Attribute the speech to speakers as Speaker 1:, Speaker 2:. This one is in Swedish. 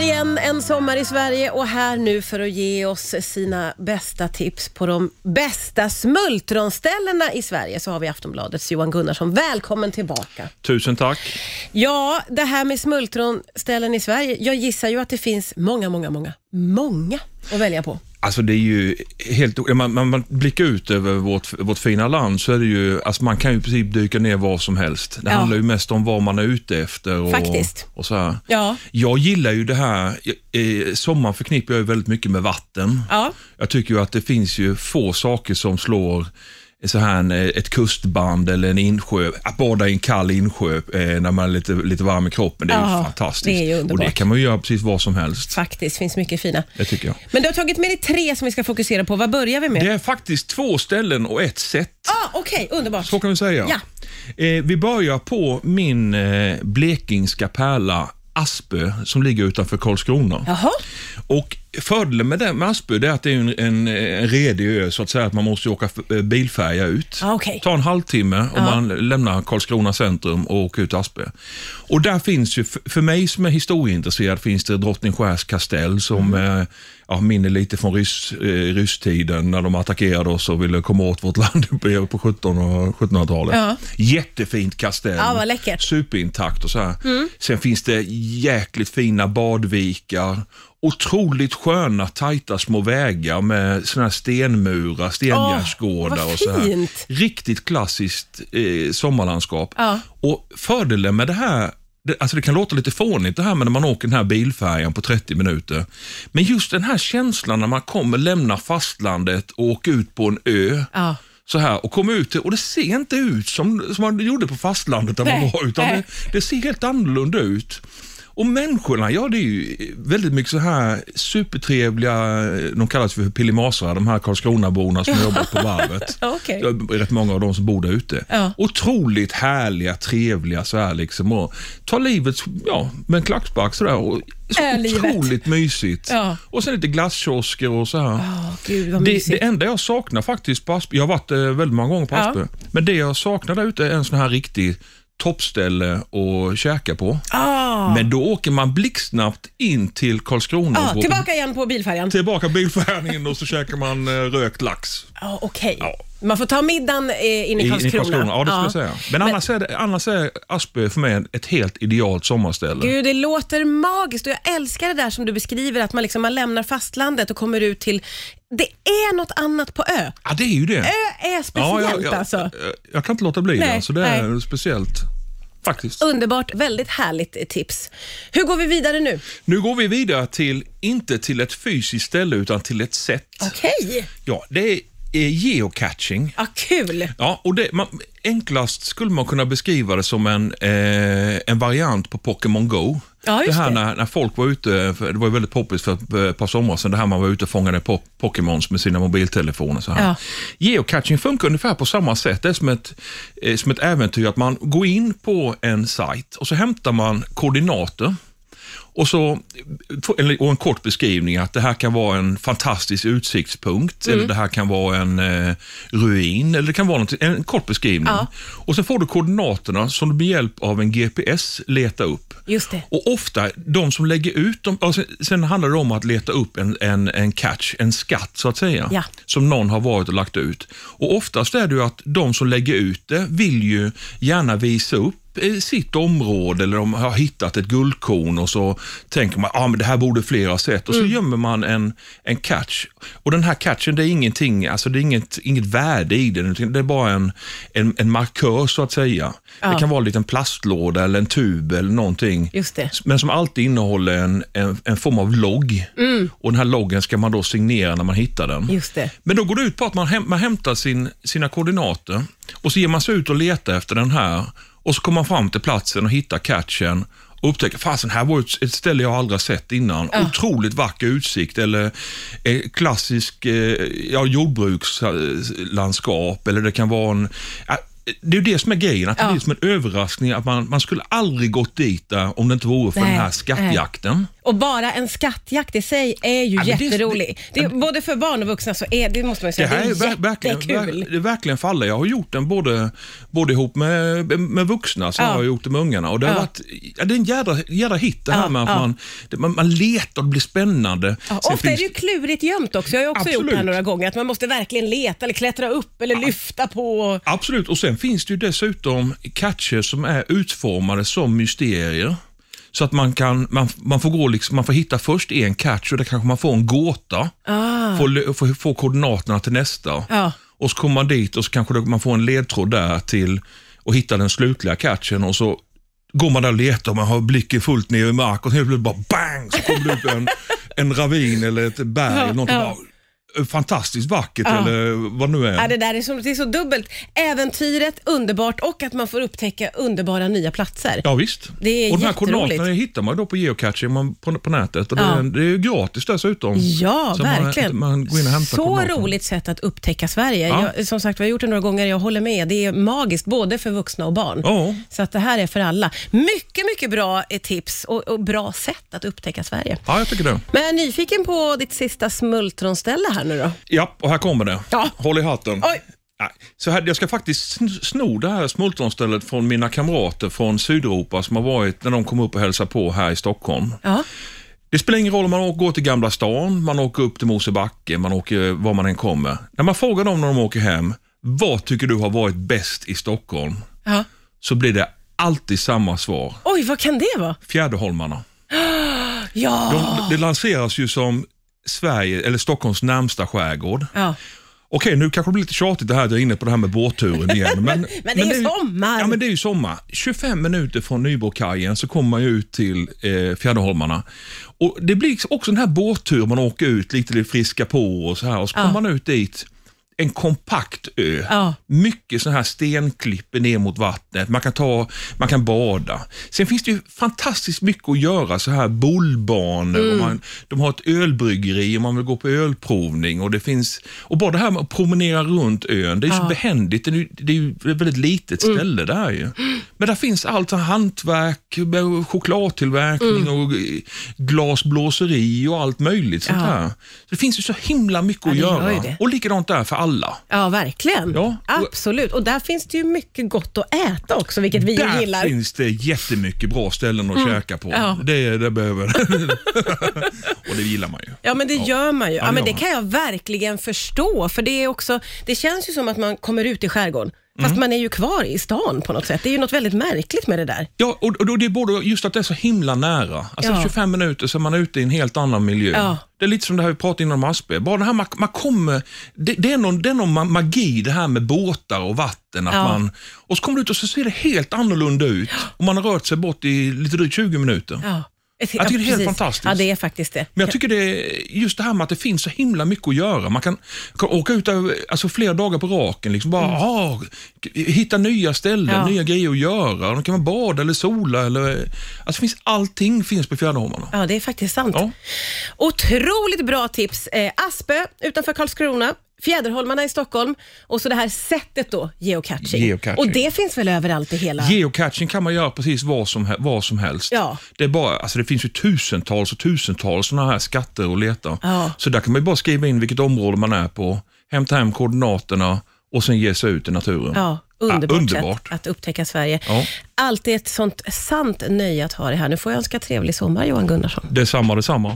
Speaker 1: igen en sommar i Sverige och här nu för att ge oss sina bästa tips på de bästa smultronställena i Sverige så har vi Aftonbladets Johan Gunnarsson. Välkommen tillbaka.
Speaker 2: Tusen tack.
Speaker 1: Ja, det här med smultronställen i Sverige. Jag gissar ju att det finns många, många, många, många att välja på.
Speaker 2: Alltså det är ju helt... När man, man, man blickar ut över vårt, vårt fina land så är det ju... Alltså man kan ju i princip dyka ner var som helst. Det
Speaker 1: Ja.
Speaker 2: handlar ju mest om vad man är ute efter. Och,
Speaker 1: Faktiskt.
Speaker 2: Och så här.
Speaker 1: Ja.
Speaker 2: Jag gillar ju det här... Eh, sommaren förknippar jag ju väldigt mycket med vatten.
Speaker 1: Ja.
Speaker 2: Jag tycker ju att det finns ju få saker som slår så här en, eh, ett kustband eller en insjö. Att bada i en kall insjö eh, när man är lite, lite varm i kroppen, det är
Speaker 1: Ja,
Speaker 2: ju fantastiskt.
Speaker 1: det är ju
Speaker 2: Och det
Speaker 1: underbart.
Speaker 2: kan man ju göra precis vad som helst.
Speaker 1: Faktiskt, finns mycket fina.
Speaker 2: Det tycker jag.
Speaker 1: Men du har tagit med dig tre som vi ska fokusera på. Vad börjar vi med?
Speaker 2: Det är faktiskt två ställen och ett sätt.
Speaker 1: Ah, Okej, underbart.
Speaker 2: Så kan vi säga.
Speaker 1: Ja.
Speaker 2: Eh, vi börjar på min eh, blekingska pärla Aspö som ligger utanför Karlskrona.
Speaker 1: Jaha,
Speaker 2: Och fördelen med, den, med Aspö det är att det är en, en, en redig ö, så att säga, att man måste åka f- eh, bilfärja ut.
Speaker 1: Ah, okej.
Speaker 2: Ta en halvtimme och man lämnar Karlskrona centrum och åker ut till Aspö. Och där finns ju, f- för mig som är historieintresserad, finns det Drottningskärs kastell som
Speaker 1: Mm.
Speaker 2: eh, ja, minner lite från ryss, eh, rysstiden när de attackerade oss och ville komma åt vårt land uppe på 17 och 1700-talet.
Speaker 1: Ja.
Speaker 2: Jättefint kastell.
Speaker 1: Ja, vad läckert. Mm.
Speaker 2: Superintakt Ehm, och så här. Sen finns det jäkligt fina badvikar. Otroligt sköna, tajta små vägar med såna här stenmurar, stengärdsgårdar
Speaker 1: Åh, vad
Speaker 2: och så här.
Speaker 1: fint.
Speaker 2: Riktigt klassiskt eh, sommarlandskap.
Speaker 1: Ja.
Speaker 2: Och fördelen med det här det, alltså det kan låta lite fånigt det här med när man åker den här bilfärjan på 30 minuter. Men just den här känslan när man kommer lämna fastlandet och åker ut på en ö
Speaker 1: Ja.
Speaker 2: så här och kommer ut och det ser inte ut som, som man gjorde på fastlandet där man
Speaker 1: Nej,
Speaker 2: var utan
Speaker 1: nej.
Speaker 2: det, det ser helt annorlunda ut. Och människorna, ja det är ju väldigt mycket så här supertrevliga, de kallas för pillimasare, de här Karlskronaborna som jobbar på varvet.
Speaker 1: Ja, okej.
Speaker 2: Det är rätt många av dem som bor där ute.
Speaker 1: Ja.
Speaker 2: Otroligt härliga, trevliga så här liksom. Och tar livet ja, med en klackspark sådär. Och så
Speaker 1: Är livet.
Speaker 2: otroligt mysigt.
Speaker 1: Ja.
Speaker 2: Och sen lite glasskiosker och så här.
Speaker 1: Åh, gud vad
Speaker 2: Det,
Speaker 1: mysigt.
Speaker 2: det enda jag saknar faktiskt på Aspö, jag har varit eh, väldigt många gånger på
Speaker 1: Ja.
Speaker 2: Aspö, men det jag saknar där ute är en sån här riktig toppställe att käka på.
Speaker 1: Ah.
Speaker 2: Men då åker man blixtsnabbt in till Karlskrona.
Speaker 1: Ja,
Speaker 2: och går-
Speaker 1: Ah, tillbaka igen på bilfärjan.
Speaker 2: Tillbaka bilfärjan in och så käkar man eh, rökt lax.
Speaker 1: Ja, Okej.
Speaker 2: Ja.
Speaker 1: Man får ta middagen eh, in
Speaker 2: I,
Speaker 1: i
Speaker 2: i
Speaker 1: Karlskrona.
Speaker 2: Karlskrona, ja det skulle jag säga. Men,
Speaker 1: Men-
Speaker 2: Annars, är det, annars är Aspö för mig ett helt idealt sommarställe.
Speaker 1: Gud, det låter magiskt och jag älskar det där som du beskriver, att man, liksom, man lämnar fastlandet och kommer ut till... Det är något annat på ö.
Speaker 2: Ja, det är ju det.
Speaker 1: Ö Eh, är
Speaker 2: ja,
Speaker 1: speciellt
Speaker 2: jag, jag,
Speaker 1: alltså.
Speaker 2: jag, jag kan inte låta bli det,
Speaker 1: Nej,
Speaker 2: alltså, det är
Speaker 1: nej.
Speaker 2: speciellt. Faktiskt.
Speaker 1: Underbart, väldigt härligt eh, tips. Hur går vi vidare nu?
Speaker 2: Nu går vi vidare till, inte till ett fysiskt ställe utan till ett sätt.
Speaker 1: Okej.
Speaker 2: Ja, det är geocaching.
Speaker 1: Ja, kul.
Speaker 2: Ja, och det, man, enklast skulle man kunna beskriva det som en, eh, en variant på Pokémon Go.
Speaker 1: Ja, just
Speaker 2: det här
Speaker 1: det.
Speaker 2: När, när folk var ute, för det var ju väldigt poppis för ett eh, par somrar sedan, det här man var ute och fångade po- Pokémons med sina mobiltelefoner. Så här.
Speaker 1: Ja.
Speaker 2: Geocaching funkar ungefär på samma sätt. Det är som ett, eh, som ett äventyr att man går in på en sajt och så hämtar man koordinater. Och, så, eh, eller- och en kort beskrivning att det här kan vara en fantastisk utsiktspunkt,
Speaker 1: Mm.
Speaker 2: eller det här kan vara en eh, ruin, eller det kan vara något, en kort beskrivning.
Speaker 1: Ja.
Speaker 2: Och sen får du koordinaterna som du med hjälp av en GPS letar upp.
Speaker 1: Just det.
Speaker 2: Och ofta, de som lägger ut dem, och sen, sen handlar det om att leta upp en, en, en catch, en skatt så att säga,
Speaker 1: Ja.
Speaker 2: som någon har varit och lagt ut. Och oftast är det ju att de som lägger ut det vill ju gärna visa upp eh, sitt område eller de har hittat ett guldkorn och så tänker man ah, men det här borde fler ha sett och
Speaker 1: Mm.
Speaker 2: så gömmer man en, en catch. Och den här catchen det är ingenting, alltså det är inget, inget värde i den, utan det är bara en, en, en markör så att säga. Det kan vara en liten plastlåda eller en tub eller någonting
Speaker 1: Just det.
Speaker 2: men som alltid innehåller en, en, en form av logg. Och den här loggen ska man då signera när man hittar den.
Speaker 1: Mm. Just det.
Speaker 2: Men då går det ut på att man, häm, man hämtar sin, sina koordinater och så ger man sig ut och letar efter den här och så kommer man fram till platsen och hittar catchen och upptäcker, fasen här var ett, ett ställe jag aldrig har sett innan. Otroligt vacker utsikt eller eh, klassisk eh, ja, jordbrukslandskap eller det kan vara en ja, det är ju det som är grejen, att det
Speaker 1: Ja.
Speaker 2: blir som en överraskning att man, man skulle aldrig gått dit där om det inte vore för
Speaker 1: Nej,
Speaker 2: den här
Speaker 1: nej.
Speaker 2: skattjakten.
Speaker 1: Och bara en skattjakt i sig är ju
Speaker 2: Ja, men det-
Speaker 1: jätterolig. Det, är både för barn och vuxna så är det, måste man ju
Speaker 2: Det
Speaker 1: säga,
Speaker 2: här är
Speaker 1: Alltså, det
Speaker 2: ver-
Speaker 1: är
Speaker 2: verkligen,
Speaker 1: jättekul.
Speaker 2: ver- det är verkligen för alla. Jag har gjort den både, både ihop med, med vuxna, sen
Speaker 1: Ja.
Speaker 2: har jag gjort det med ungarna. Och det, har
Speaker 1: Ja.
Speaker 2: varit, ja, det är en jädra, jädra hit det här
Speaker 1: Ja,
Speaker 2: med att
Speaker 1: ja.
Speaker 2: man, det, man, man letar och det blir spännande.
Speaker 1: Ja,
Speaker 2: Sen
Speaker 1: ofta är
Speaker 2: finns
Speaker 1: det ju klurigt gömt också. Jag har ju också gjort det här
Speaker 2: Absolut.
Speaker 1: några gånger, att man måste verkligen leta eller klättra upp eller lyfta på.
Speaker 2: Absolut, och sen finns det ju dessutom catcher som är utformade som mysterier. Så att man kan, man, man får gå liksom, man får hitta först en catch och där kanske man får en gåta.
Speaker 1: Ah.
Speaker 2: Får, lö- får, får koordinaterna till nästa.
Speaker 1: Ja.
Speaker 2: Och så kommer man dit och så kanske man får en ledtråd där till och hitta den slutliga catchen och så går man där och letar och man har blicken fullt ner i mark och helt plötsligt bara bang så kommer det upp en, en ravin eller ett berg.
Speaker 1: Ja,
Speaker 2: eller någonting
Speaker 1: ja.
Speaker 2: bara, eh, fantastiskt vackert
Speaker 1: Ja.
Speaker 2: eller vad nu är.
Speaker 1: Ja, det där är så, det är så dubbelt. Äventyret, underbart och att man får upptäcka underbara nya platser.
Speaker 2: Ja visst.
Speaker 1: Det är
Speaker 2: och de här
Speaker 1: jätteroligt.
Speaker 2: koordinaterna hittar man ju då på geocaching man, på, på nätet. Och det,
Speaker 1: Ja.
Speaker 2: det är ju gratis dessutom.
Speaker 1: Ja,
Speaker 2: Så man-
Speaker 1: verkligen.
Speaker 2: man går in och
Speaker 1: så
Speaker 2: hämtar koordinaterna.
Speaker 1: roligt sätt att upptäcka Sverige.
Speaker 2: Ja.
Speaker 1: Jag, som sagt, vi har gjort det några gånger. Jag håller med. Det är magiskt, både för vuxna och barn.
Speaker 2: Ja.
Speaker 1: Så att det här är för alla. Mycket, mycket bra eh, tips och, och bra sätt att upptäcka Sverige.
Speaker 2: Ja, jag tycker det.
Speaker 1: Men jag är nyfiken på ditt sista smultronställe här nu då.
Speaker 2: Ja, och här kommer det.
Speaker 1: Ja.
Speaker 2: Håll i hatten.
Speaker 1: Oj.
Speaker 2: Nej, Så här, jag ska faktiskt sn- sno det här smultronstället från mina kamrater från Sydeuropa som har varit när de kom upp och hälsade på här i Stockholm.
Speaker 1: Ja.
Speaker 2: Det spelar ingen roll om man åker- går till Gamla stan, man åker upp till Mosebacke, man åker eh, var man än kommer. När man frågar dem när de åker hem, vad tycker du har varit bäst i Stockholm?
Speaker 1: ja.
Speaker 2: Så blir det alltid samma svar.
Speaker 1: Oj, vad kan det vara?
Speaker 2: Fjäderholmarna.
Speaker 1: Ja.
Speaker 2: De, det lanseras ju som Sverige, eller Stockholms närmsta skärgård.
Speaker 1: ja.
Speaker 2: Okej, nu kanske det blir lite tjatigt det här att jag är inne på det här med båtturen igen. Men,
Speaker 1: Men det är
Speaker 2: ju-
Speaker 1: sommar.
Speaker 2: Ja, men det är ju sommar. 25 minuter från Nybrokajen så kommer man ju ut till eh, Fjäderholmarna. Och det blir också den här båtturen man åker ut lite, lite friska på och så här och så kommer man ut dit. En kompakt ö.
Speaker 1: Ja.
Speaker 2: Mycket sådana här stenklippor ner mot vattnet. Man kan, ta, man kan bada. Sen finns det ju fantastiskt mycket att göra. Så här bollbanor.
Speaker 1: Mm.
Speaker 2: Och man, de har ett ölbryggeri om man vill gå på ölprovning. Och, det finns, och bara det här med att promenera runt ön. Det är ju så behändigt. Det är ju, det är ju ett väldigt litet
Speaker 1: Mm.
Speaker 2: ställe där ju. Men där finns allt så här hantverk, med
Speaker 1: Mm.
Speaker 2: chokladtillverkning och glasblåseri och allt möjligt sånt
Speaker 1: Ja.
Speaker 2: här. Så det finns ju så himla mycket att
Speaker 1: det gör ju
Speaker 2: göra.
Speaker 1: det.
Speaker 2: Och likadant där för alla.
Speaker 1: Ja, verkligen.
Speaker 2: Ja.
Speaker 1: Absolut. Och där finns det ju mycket gott att äta också, vilket vi ju
Speaker 2: Där
Speaker 1: gillar. Mm.
Speaker 2: finns det jättemycket bra ställen att käka på.
Speaker 1: Ja.
Speaker 2: Det, det behöver Och det gillar man ju.
Speaker 1: Ja, men det gör man ju. Ja,
Speaker 2: det
Speaker 1: men
Speaker 2: gör
Speaker 1: det
Speaker 2: man.
Speaker 1: kan jag verkligen förstå, för det är också, det känns ju som att man kommer ut i skärgården,
Speaker 2: Mm.
Speaker 1: fast man är ju kvar i stan på något sätt. Det är ju något väldigt märkligt med det där.
Speaker 2: Ja, och, och då- det är både just att det är så himla nära. Alltså
Speaker 1: Ja.
Speaker 2: 25 minuter så är man ute i en helt annan miljö.
Speaker 1: Ja.
Speaker 2: Det är lite som det här vi pratade innan om Aspberg. Bara det här man, man kommer, det, det, är någon, det är någon ma- magi det här med båtar och vatten. Att
Speaker 1: Ja.
Speaker 2: man, och så kommer du ut och så ser det helt annorlunda ut. Och man har rört sig bort i lite drygt 20 minuter.
Speaker 1: Ja. Jag
Speaker 2: tycker det är helt fantastiskt.
Speaker 1: Ja, det är faktiskt det.
Speaker 2: Men jag tycker det är just det här med att det finns så himla mycket att göra. Man kan, kan åka ut över- alltså, flera dagar på raken, liksom bara, ah, hitta nya ställen,
Speaker 1: Mm. Ja.
Speaker 2: nya grejer att göra. Då kan man bada eller sola. Eller, alltså, finns, allting finns på Fjäderholmarna.
Speaker 1: Ja, det är faktiskt sant.
Speaker 2: Ja.
Speaker 1: Otroligt bra tips. Eh, Aspö utanför Karlskrona, Fjäderholmarna i Stockholm och så det här sättet då, geocaching.
Speaker 2: Geocaching.
Speaker 1: Och det finns väl överallt i hela...
Speaker 2: Geocaching kan man göra precis vad som, he- vad som helst.
Speaker 1: Ja.
Speaker 2: Det, är bara, alltså det finns ju tusentals och tusentals sådana här skatter att leta.
Speaker 1: Ja.
Speaker 2: Så där kan man ju bara skriva in vilket område man är på, hämta hem koordinaterna och sen ge sig ut i naturen.
Speaker 1: Ja, underbart,
Speaker 2: underbart.
Speaker 1: sätt att upptäcka Sverige.
Speaker 2: Ja.
Speaker 1: Alltid ett sånt sant nöje att ha det här. Nu får jag önska trevlig sommar, Johan Gunnarsson.
Speaker 2: Detsamma, detsamma.